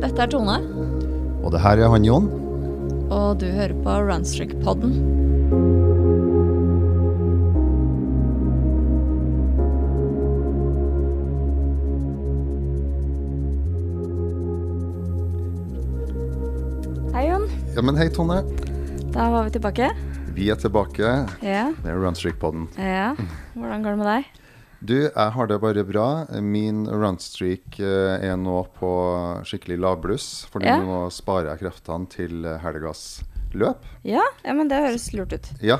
Dette er Tone, Og det her er han Jon. og du hører på Runstrick-podden. Hei, Jon. Ja, men hei, Tone. Da var vi tilbake. Vi er tilbake. Ja, Det er Runstreak-podden. ja. Hvordan går det med deg? Du, jeg har det bare bra. Min runstreak eh, er nå på skikkelig lavbluss, fordi Ja. nå sparer jeg kreftene til eh, helgas løp. Ja, ja men det høres lurt ut. Ja,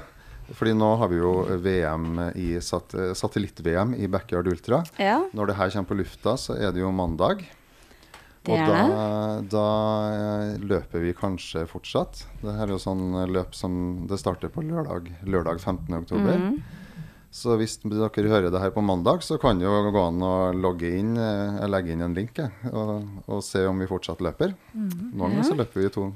fordi nå har vi jo VM i sat eh, satellitt-VM i backyard ultra. Ja, Når det her kommer på lufta, så er det jo mandag. Det og er da, da eh, løper vi kanskje fortsatt. Det her er jo sånn eh, løp som det starter på lørdag, lørdag 15. oktober. Mm. Så hvis dere hører det her på mandag, så kan det jo gå an å logge inn. eh, Jeg legger inn en link jeg, og, og se om vi fortsatt løper. Noen ganger så løper vi i to,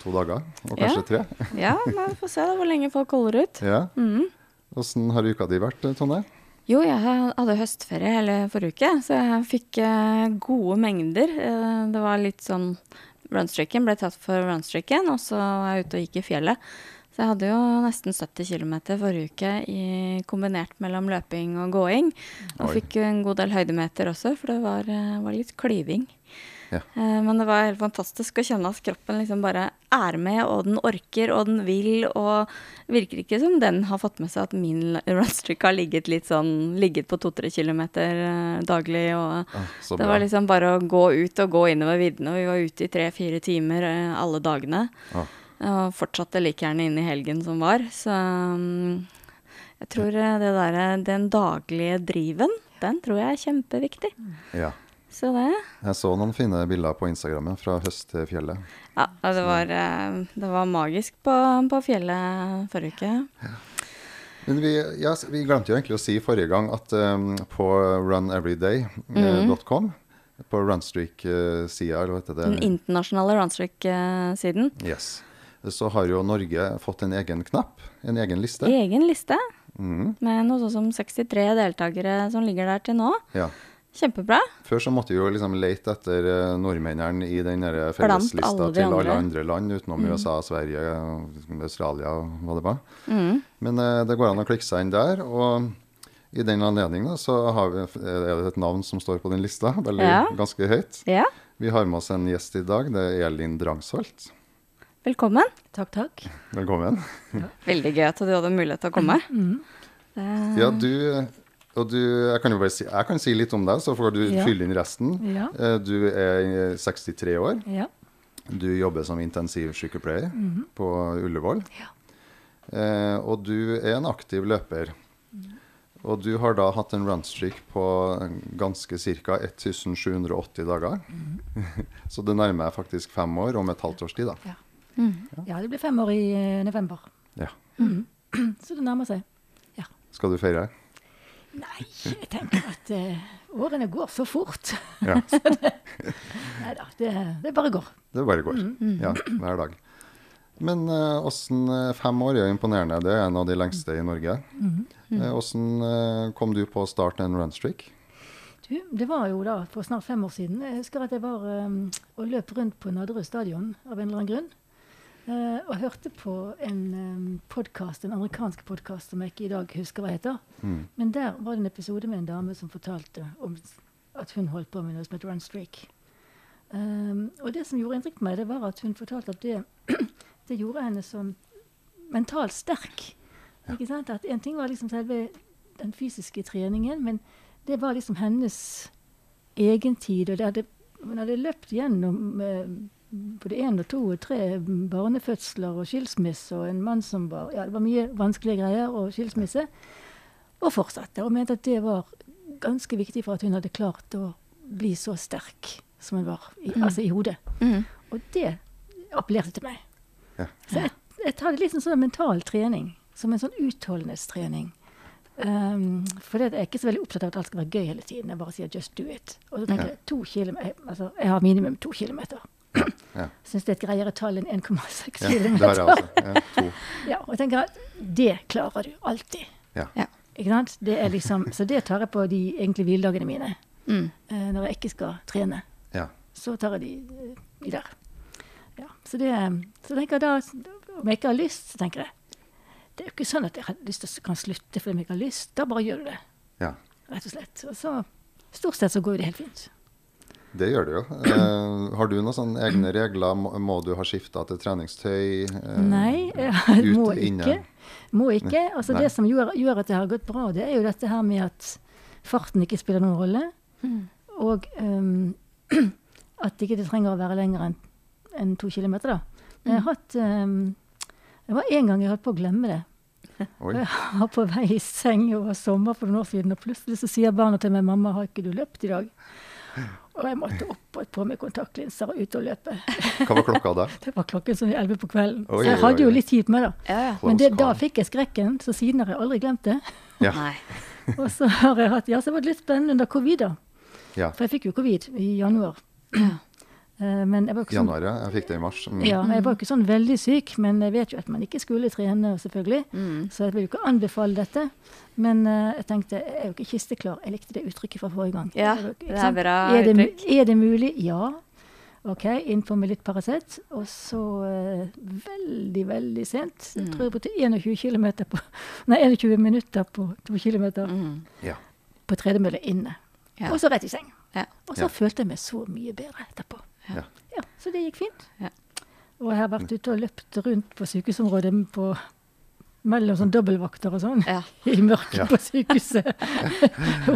to dager, og Mm. Ja. kanskje tre. ja nei, vi får se da hvor lenge folk holder ut. Mm. Ja. Åssen har uka di vært, Tonje? Jo, jeg hadde høstferie hele forrige uke, så jeg fikk eh, gode mengder. Eh, det var litt sånn Runstricken ble tatt for runstricken, og så var jeg ute og gikk i fjellet. Så jeg hadde jo nesten 70 km forrige uke i, kombinert mellom løping og gåing. Og Oi. fikk jo en god del høydemeter også, for det var, eh, var litt klyving. Ja. Eh, Men det var helt fantastisk å kjenne at kroppen liksom bare er med, og den orker, og den vil, og virker ikke som den har fått med seg at min runstreak har ligget litt sånn, ligget på to-tre kilometer eh, daglig, og Ah, så det bra. var liksom bare å gå ut og gå innover viddene, og vi var ute i tre-fire timer eh, alle dagene, Ah. og fortsatte like gjerne inn i helgen som var, så mm, jeg tror eh, det der, eh, den daglige driven, den tror jeg er kjempeviktig. Ja. Så det... Jeg så noen fine bilder på Instagram ja, fra høstfjellet. Ja, ja, det var, eh, det var magisk på, på fjellet forrige uke. Men vi, ja, s- vi glemte jo egentlig å si forrige gang at um, på runeveryday.com, på runstreak-sida, eller hva heter Den det? internasjonale runstreak-siden. Yes. Så har jo Norge fått en egen knapp, en egen liste. Egen liste Mhm, med noe sånn som 63 deltakere som ligger der til nå. ja. Kjempebra. Før så måtte vi jo liksom lete etter eh, nordmennene i den der Blant felleslista alle de til alle andre. Mm. andre land utenom USA, Sverige, eh, Australia og hva det var. Mm. Men eh, det går an å klikke seg inn der. Og i den anledning da, så har vi, eh, er det et navn som står på den lista, veldig, Ja. ganske høyt. Ja, Vi har med oss en gjest i dag. Det er Elin Drangsholt. velkommen. Takk, takk. Velkommen. Veldig gøy at du hadde mulighet til å komme. Mm. Det- Ja, du, og du, jeg kan jo bare si, jeg kan si litt om deg, så får du Ja. fylle inn resten. Ja. Eh, Du er 63 år. Ja. Du jobber som intensivsykepleier Mhm. på Ullevål. Eh, og du er en aktiv løper. Og du har da hatt en runstreak på ganske ca. 1780 dager. Mhm. Så det nærmer jeg faktisk fem år om et halvt års tid, da. Ja. Mm. ja, det blir fem år i eh, november, Ja. Mhm. så det nærmer seg. Ja. Skal du feire? Nei, jeg tenker at eh, årene går så fort. Ja. Nei da, det, det bare går. Det bare går. Mm, Ja, hver dag. Men eh, åssen eh, Fem år er jo imponerende. Det er en av de lengste i Norge. Mm, Eh, Åssen eh, kom du på å starte en runstreak? Du, det var jo da for snart fem år siden. Jeg husker at jeg var eh, og løp rundt på Nadderud stadion av en eller annen grunn. eh, og hørte på en um, podkast, en amerikansk podkast som jeg ikke i dag husker hva heter. Mm. Men der var det en episode med en dame som fortalte om s- at hun holdt på med noe som het run streak. Um, og det som gjorde inntrykk på meg, det var at hun fortalte at det, det gjorde henne sånn mentalt sterk. Ikke sant? At en ting var liksom selve den fysiske treningen, men det var liksom hennes egen tid. Og det hadde, hun hadde løpt gjennom eh, både én og to og tre barnefødsler og skilsmisse og en mann som var Ja, det var mye vanskelige greier og skilsmisse. Og fortsatte. Og mente at det var ganske viktig for at hun hadde klart å bli så sterk som hun var, i, altså i hodet. Mhm. Og det appellerte til meg. Ja. Så jeg, jeg tar det litt som sånn mental trening. Som en sånn utholdenhetstrening. Um, for det, at jeg er ikke så veldig opptatt av at alt skal være gøy hele tiden. Jeg bare sier 'just do it'. Og så tenker jeg to kilometer, altså, jeg har minimum to kilometer. ja. Syns det er et greiere tall enn 1,6 Ja, det har kilometer. jeg også. Ja, to. Ja, og jeg tenker at det klarer du alltid. Ja. Ja. Ikke sant? Det er liksom, så det tar jeg på de egentlig hviledagene mine. Mm. eh, når jeg ikke skal trene. ja. Så tar jeg de eh, oppi der. Ja, så, det, så tenker jeg da, om jeg ikke har lyst, så tenker jeg det er jo ikke sånn at jeg har lyst til å kan slutte fordi om jeg ikke har lyst. Da bare gjør du det, Ja. rett og slett. Og så stort sett så går jo det helt fint. Det gjør du jo. Eh, har du noen sånne egne regler? Må, må du ha skifta til treningstøy? Eh, Nei, jeg ut, må inne? ikke. Må ikke. Altså Nei. Det som gjør, gjør at det har gått bra, det er jo dette her med at farten ikke spiller noen rolle. Mm. Og ehm, at ikke det trenger å være lenger enn enn to kilometer, da. Men jeg Mm. har hatt ehm, Det var en gang jeg holdt på å glemme det. Oi. Og Jeg var på vei i seng over sommer for noen år siden, og plutselig så sier barna til meg 'Mamma, har ikke du løpt i dag?' Og jeg måtte opp og på meg kontaktlinser og ut og løpe. Hva var klokka da? Det var klokken sånn elleve på kvelden. Oi, så jeg oi, hadde jo oi. litt tid på meg, da. Ja, ja. Close Men det, da call. fikk jeg skrekken, så siden har jeg aldri glemt det. Ja. Nei. Og så har jeg hatt, ja, så var det litt spennende under covid, da. ja. For jeg fikk jo covid i januar. Eh, Men jeg var jo ikke sånn, Januar, ja. Jeg fikk det i mars. Mm. ja, jeg var jo ikke sånn veldig syk, men jeg vet jo at man ikke skulle trene, selvfølgelig. Mm. Så jeg vil jo ikke anbefale dette. Men eh, jeg tenkte, jeg er jo ikke kisteklar. Jeg likte det uttrykket fra forrige gang. Ja, Jeg var jo ikke- det er sant? bra er det, mu- uttrykk. Er det mulig? Ja. Ok, inn på med litt Paracet. Og så eh, veldig, veldig sent. Jeg Mm. tror jeg brukte 21, kilometer på, nei, 21 minutter på 2 km Mm. Ja. på tredemølle inne. Ja. Og så rett i seng. Ja. Og Ja. så følte jeg meg så mye bedre etterpå. Ja. Mm. Ja, Så det gikk fint. Ja. Og jeg har vært ute og løpt rundt på sykehusområdet på, mellom sånn dobbeltvakter og sånn. Ja. I mørket Ja. på sykehuset.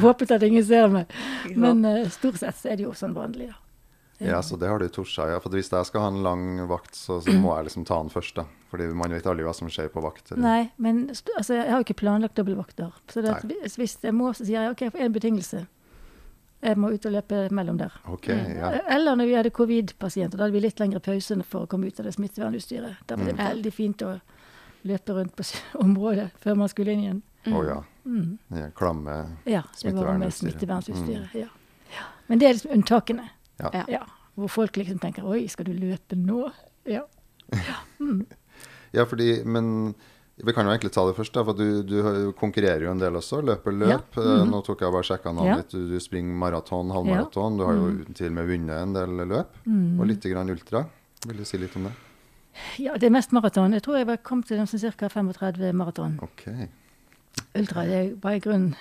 Håpet at ingen ser meg. Ikke sant? Men eh, stort sett så er det jo sånn vanlig, da. ja, så det har du torsa. Ja. For hvis jeg skal ha en lang vakt, så, så må jeg liksom ta den først. da. Fordi man vet aldri hva som skjer på vakt. eller- Nei, men st- altså, jeg har jo ikke planlagt dobbeltvakter. Så det, at Nei. hvis- hvis jeg må, så sier jeg OK, jeg får én betingelse. Jeg må ut og løpe mellom der. Ok, ja. Eller når vi hadde covid-pasienter. Da hadde vi litt lengre pause for å komme ut av det smittevernutstyret. Da var det Mm. Ja. veldig fint å løpe rundt på s- området før man skulle inn igjen. Mm. Å ja. ja. Klamme Ja, det var med Smittevernutstyret. Mm. smittevernutstyret. Ja. Ja. Men det er liksom unntakene. Ja. Ja. Ja. Hvor folk liksom tenker 'oi, skal du løpe nå?' Ja. Ja, fordi, men vi kan jo egentlig ta det først, da, for du, du har jo- konkurrerer jo en del også. Løper løp. Ja. mhm. Eh, Nå tok jeg bare sjekka navnet Ja. Mhm. ditt. Du, du springer maraton, halvmaraton. Du har jo til og med vunnet en del løp. Og litt grann ultra. Vil du si litt om det? Mm. ja, det er mest maraton. Jeg tror jeg var- kom til dem som ca. 35 maraton. OK. Ultra det er jo bare i grunnen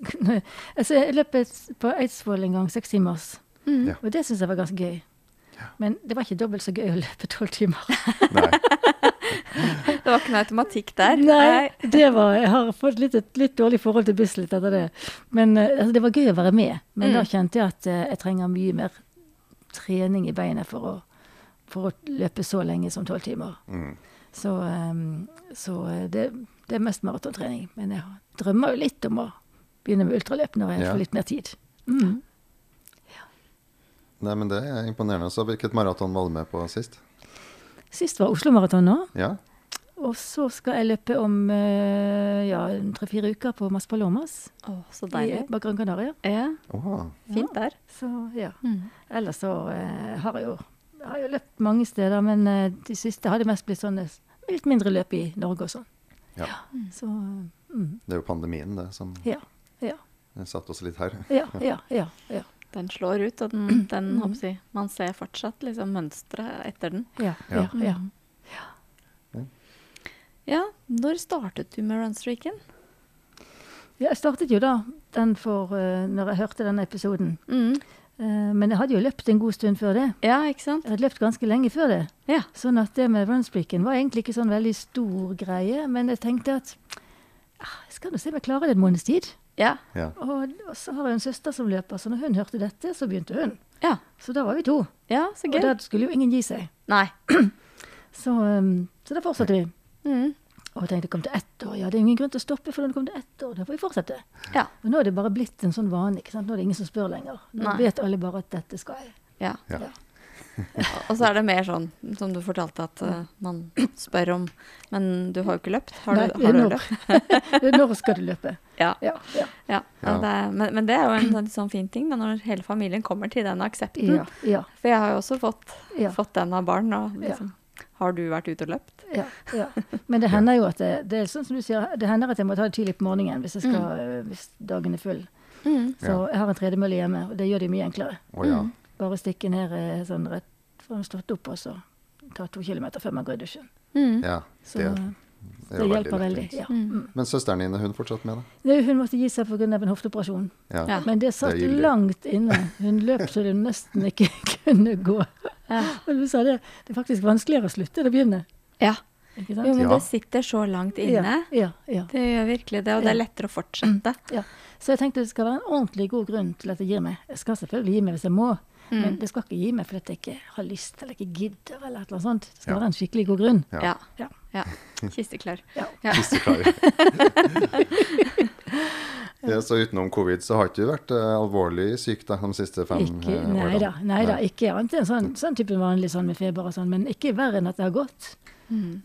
altså, Jeg løp et- på Eidsvoll en gang seks timers, Mm. Ja. og det syns jeg var ganske gøy. Men det var ikke dobbelt så gøy å løpe tolv timer. Nei. Det var ikke noe automatikk der. Nei, det var, jeg har fått litt, et litt dårlig forhold til Bislett etter det. Men eh, altså, det var gøy å være med. Men da kjente jeg at eh, jeg trenger mye mer trening i beinet for å, for å løpe så lenge som tolv timer. Mm. Så, eh, så eh, det, det er mest maratontrening. Men jeg drømmer jo litt om å begynne med ultraløp når jeg Ja. får litt mer tid. Nei, men det er imponerende. Så hvilket maraton var du med på sist? Sist var Oslo-maraton nå. Ja? Og så skal jeg løpe om eh, ja, tre-fire uker på Mas Palomas Å, så i deilig. Gran Canaria. Ja, Åh. fint der. Så ja. Mm. Ellers så eh, har jeg jo jeg har jo løpt mange steder, men eh, de siste har det mest blitt sånne s- litt mindre løp i Norge og sånn. Ja. Så eh, mm, Det er jo pandemien, det, som ja. Ja, satte oss litt her. ja, ja. ja, ja, Den slår ut, og den, den håper jeg, å si, man ser fortsatt liksom mønsteret etter den. ja, ja, Ja. ja. Mm. Ja, når startet du med runstreaken? ja jeg startet jo da den for eh, når jeg hørte denne episoden. Mm. Eh, men jeg hadde jo løpt en god stund før det. Ja, ikke sant? Jeg hadde løpt ganske lenge før det. Ja. Sånn at det med runstreaken var egentlig ikke sånn veldig stor greie. Men jeg tenkte at ah, jeg skal nå se om jeg klarer det en måneds tid. Ja. Ja. Og, og så har jeg en søster som løper, så når hun hørte dette, så begynte hun. Ja, Så da var vi to. ja så Og gøy. da skulle jo ingen gi seg. Nei. Så, um, så da fortsatte vi. Mm. Og jeg tenkte kom til ett år, ja det er ingen grunn til å stoppe, for når det kom til ett år, da får vi fortsette. Ja. Og nå er det bare blitt en sånn vane. ikke sant? Nå er det ingen som spør lenger. Nå Nei. vet alle bare at dette skal jeg. ja. Ja. Og så er det mer sånn, som du fortalte, at eh, man spør om Men du har jo ikke løpt. Har du, Nei, har du når- løpt? når skal du løpe? Ja. Ja. ja. ja. Ja. Det er, men, men det er jo en sånn, sånn fin ting, da, når hele familien kommer til den aksepten. Ja, ja, For jeg har jo også fått, Ja. fått den av barn. Og Ja. liksom, Har du vært ute og løpt? ja, ja. Men det hender jo at det, det er sånn som du sier, det hender at jeg må ta det tidlig på morgenen hvis, jeg Mm. skal, øh, hvis dagen er full. Så Ja. jeg har en tredemølle hjemme, og det gjør det mye enklere. Å ja. Bare stikke ned eh, sånn rett For hun stått opp og så ta to kilometer før man går i dusjen. Mm. Ja, Så eh, det, det, det er jo hjelper veldig. lettvint. Ja. Mm. Men søsteren din, er hun fortsatt med, da? Det, hun måtte gi seg pga. en hofteoperasjon. Ja. Ja. Men det satt Det er ille. langt inne. Hun løp så hun nesten ikke kunne gå. Ja. Og du sa det, det er faktisk vanskeligere å slutte enn å begynne. ja. Ikke Jo, sant? men Ja. det sitter så langt inne. Ja, ja, ja. Det gjør virkelig det, og det er lettere å fortsette. Så jeg tenkte det skal være en ordentlig god grunn til at jeg gir meg. Jeg skal selvfølgelig gi meg hvis jeg må, men det skal ikke gi meg fordi at jeg ikke har lyst eller ikke gidder. eller et eller annet sånt. Det skal Ja. være en skikkelig god grunn. Ja. Ja. Ja. ja. Kisteklar. Ja. Ja. Hvis du klarer. ja, så utenom covid så har ikke du vært eh, alvorlig syk da, de siste fem Ikke, eh, nei da, årene? nei da, ikke annet enn sånn, sånn type vanlig sånn med feber og sånn, men ikke verre enn at det har gått.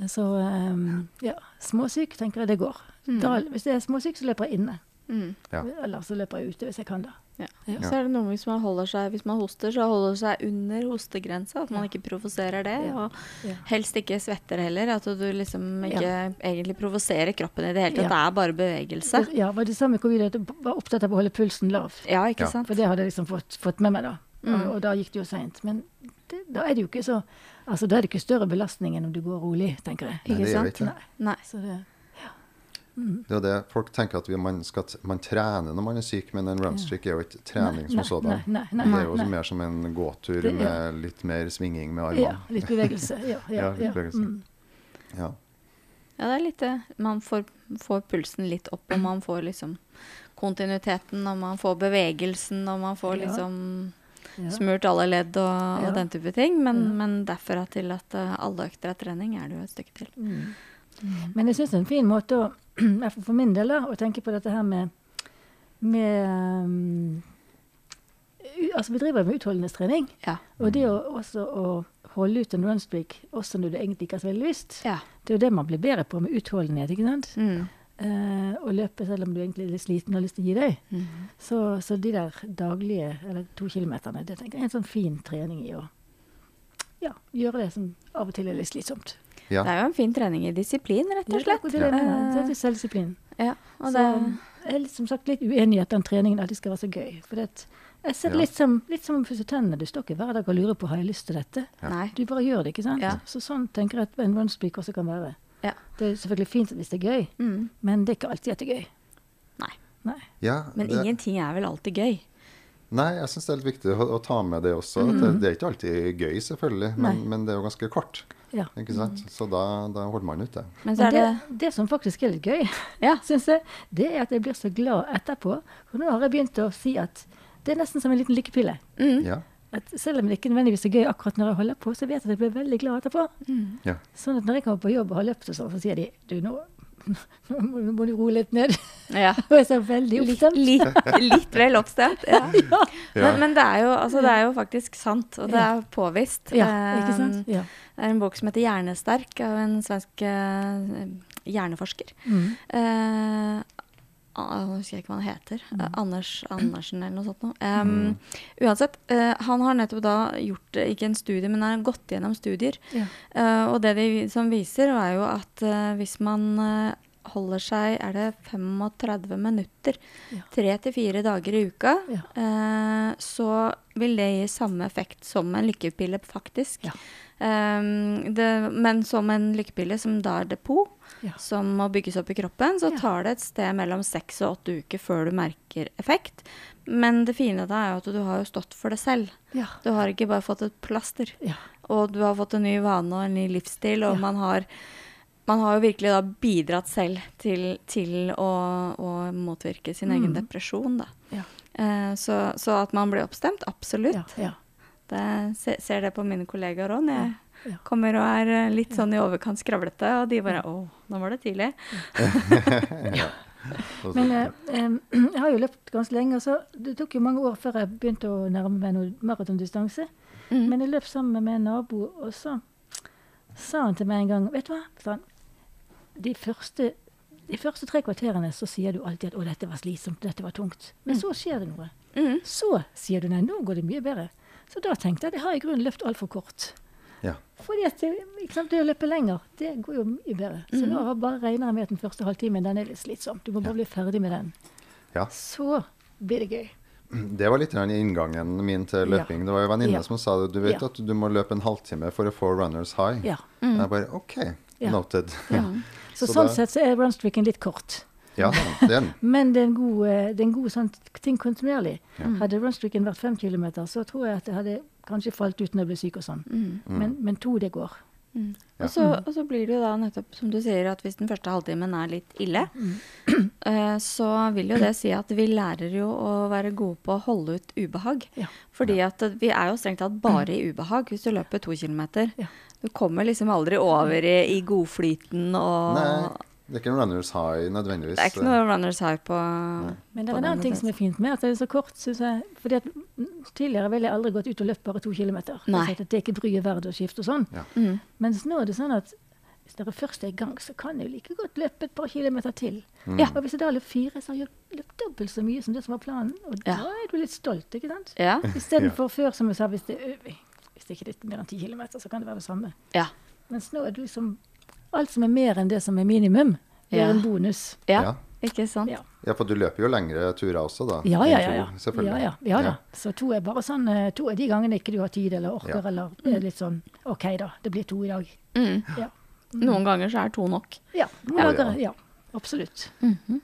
Så ehm, ja, småsyk tenker jeg det går. Da, hvis jeg er småsyk, så løper jeg inne. Mm. Ja. Eller så løper jeg ute hvis jeg kan, da. Ja. Ja. Så er det noe med hvis man holder seg Hvis man hoster, så holder seg under hostegrensa. At man ikke provoserer det. Ja. Ja. Og helst ikke svetter heller. At du liksom ikke egentlig provoserer kroppen i det hele tatt. Ja. Det er bare bevegelse. Det- Ja, var det samme covid, at jeg var opptatt av å holde pulsen lav. Ja, ikke Ja. sant? For det hadde jeg liksom fått, fått med meg, da. Og, og da gikk det jo seint. Men det, da er det jo ikke så Altså, da er det ikke større belastning enn om du går rolig, tenker jeg. Nei, Ikke det gjør vi sant? ikke. Nei. Nei. Så det, Mm. Det er jo det. Folk tenker at vi, man, skal, t- man trener når man er syk, men en runstreak er jo ikke trening Nei, nei, som sådan. nei, nei, Det nei, er jo nei. mer som en gåtur Det- ja. med litt mer svinging med ja, armene. litt bevegelse. Ja, ja, Ja, litt ja. bevegelse. Mm. Ja. Ja, det er litt det. Man får, får pulsen litt opp, og man får liksom kontinuiteten, og man får bevegelsen, og man får Ja. liksom Ja. smurt alle ledd og, Ja. Mm. og den type ting. Men, Ja. men derfra til at eh, alle økter er trening, er det jo et stykke til. Mm. Men jeg syns det er en fin måte, å, i hvert fall for min del, da, å tenke på dette her med, med um, u- Altså, vi driver jo med utholdenhetstrening. Ja. Og det å, også å holde ut en runstreak også når du egentlig ikke har så veldig lyst, ja. det er jo det man blir bedre på med utholdenhet. ikke sant? Mm. Eh, å løpe selv om du egentlig er litt sliten og har lyst til å gi deg. Mhm. Så, så de der daglige, eller to kilometerne, det tenker jeg er en sånn fin trening i å ja, gjøre det som av og til er litt slitsomt. Ja. Det er jo en fin trening i disiplin, rett og Det er slett. akkurat det jeg mener. Det Eh, er til selvdisiplin. Ja, og Så det, jeg er litt, som sagt litt uenig i at den treningen alltid skal være så gøy. For det, at- jeg ser det Ja. litt som, litt som å pusse tennene. Du står ikke hver dag og lurer på har jeg lyst til dette. Ja. nei. Du bare gjør det, ikke sant? Ja. Så sånn tenker jeg at en runstreak også kan være. Ja. Det er selvfølgelig fint hvis det er gøy, Mm. men det er ikke alltid at det er gøy. Nei. Nei. Ja, Men det- ingenting er vel alltid gøy. Nei, jeg syns det er litt viktig å, å ta med det også. at Det, det er ikke alltid gøy, selvfølgelig, men, Mm. Nei. Mm. men det er jo ganske kort. Ja. Ikke sant? Så da, da holder man ut det. Men så Men er det det, det som faktisk er litt gøy, Ja. synes jeg, det er at jeg blir så glad etterpå. For nå har jeg begynt å si at det er nesten som en liten lykkepille. mm. Ja. At selv om det ikke nødvendigvis er gøy akkurat når jeg holder på, så vet jeg at jeg blir veldig glad etterpå. ja. Sånn at når jeg kommer på jobb og har løpt og sånn, så sier de du, nå, nå må- nå må du roe litt ned. ja. Og jeg er så veldig Litt, oppstemt. litt, litt vel oppstemt. Ja. Ja. Men, men det, er jo, altså, det er jo faktisk sant, og det Ja. er påvist. Ja, ikke sant? Eh, Ja. Det er en bok som heter 'Hjernesterk' av en svensk eh, hjerneforsker. Mm. Eh, ah, Nå husker jeg ikke hva han heter. Eh, Anders Andersen eller noe sånt. Noe. Em, Uansett, eh, han har nettopp da gjort eh, ikke en studie, men han har gått gjennom studier. Ja. Eh, og det de vi- som viser, er jo at eh, hvis man eh, holder seg er det 35 minutter Ja. tre til fire dager i uka, Ja. eh, så vil det gi samme effekt som en lykkepille, faktisk. Ja. Ehm, det, men som en lykkepille som da er depot, Ja. som må bygges opp i kroppen, så Ja. tar det et sted mellom seks og åtte uker før du merker effekt. Men det fine da er jo at du har jo stått for det selv. Ja. Du har ikke bare fått et plaster. Ja. Og du har fått en ny vane og en ny livsstil, og Ja. man, har, man har jo virkelig da bidratt selv til, til å, å motvirke sin egen Mm. depresjon, da. Ja. Eh, så, så at man blir oppstemt, absolutt. Ja. Ja. Det, se, ser det på mine kollegaer òg. når Jeg Ja. kommer og er eh, litt sånn i overkant skravlete, og de bare Å, nå var det tidlig. Og så- Men eh, em, jeg har jo løpt ganske lenge, og så det tok jo mange år før jeg begynte å nærme meg noe maratondistanse. Mm. Men jeg løp sammen med en nabo, og så sa han til meg en gang Vet du hva? sa han. De første, de første tre kvarterene så sier du alltid at 'Å, dette var slitsomt. Dette var tungt.' Men så skjer det noe. Mm. Så sier du 'Nei, nå går det mye bedre'. Så da tenkte jeg det har i grunnen løpt altfor kort. ja. Fordi at det, ikke sant, det å løpe lenger, det går jo mye bedre. Så Mhm. nå har- bare regner jeg med at den første halvtimen den er litt slitsom. Du må bare bli ferdig med den. ja. Så blir det gøy. Det var litt grann i inngangen min til Ja. løping. Det var jo venninne Ja. som sa det. Du vet Ja. at du må løpe en halvtime for å få runners high. Ja. Mm. Jeg bare OK, Ja. noted. ja. Så, Så sånn da- sett så er runstreaken litt kort. Ja, det er den. Men det er en god, eh, det er en god sånn ting kontinuerlig. Ja. Mm. Hadde runstreaken vært fem kilometer, så tror jeg at jeg hadde kanskje falt ut når jeg ble syk og sånn. Mm. Mm. Men, men to, det går. Mm. Ja. Og, så, og så blir det jo da nettopp som du sier, at hvis den første halvtimen er litt ille, Mm. eh, så vil jo det si at vi lærer jo å være gode på å holde ut ubehag. Ja. Fordi at vi er jo strengt tatt bare i ubehag hvis du løper to kilometer. Ja. Du kommer liksom aldri over i, i godflyten og Nei, det er ikke en runners high nødvendigvis. eh, Det er ikke noe runners high på Men på det er en den annen ting som er fint med at det er så kort, synes jeg. Fordi at mm, tidligere ville jeg aldri gått ut og løpt bare to kilometer. Nei. Jeg sa at Det er ikke bryet verdt å skifte og sånn. Ja. Mm. Mens nå er det sånn at hvis dere først er i gang, så kan jeg jo like godt løpe et par kilometer til. Mm. Og hvis jeg da løper fire, så har jeg jo løpt dobbelt så mye som det som var planen. Og Ja. da er du litt stolt, ikke sant? Ja. Istedenfor før, som jeg sa, hvis det, ø- hvis det ikke er litt mer enn ti kilometer, så kan det være det samme. Ja. Mens nå er det liksom Alt som er mer enn det som er minimum, blir Ja. en bonus. ja. Ja. Ikke sant? Ja. Ja, for du løper jo lengre turer også, da. Ja, ja, enn ja. to, ja. Selvfølgelig. Ja, ja, ja, da. Ja. Så to er bare sånn eh, To er de gangene ikke du har tid eller orker, Ja. eller er litt sånn OK, da. Det blir to i dag. Mm. Ja. Noen ganger så er to nok. Ja. Noen Ja. dager. Ja. Absolutt. Mhm.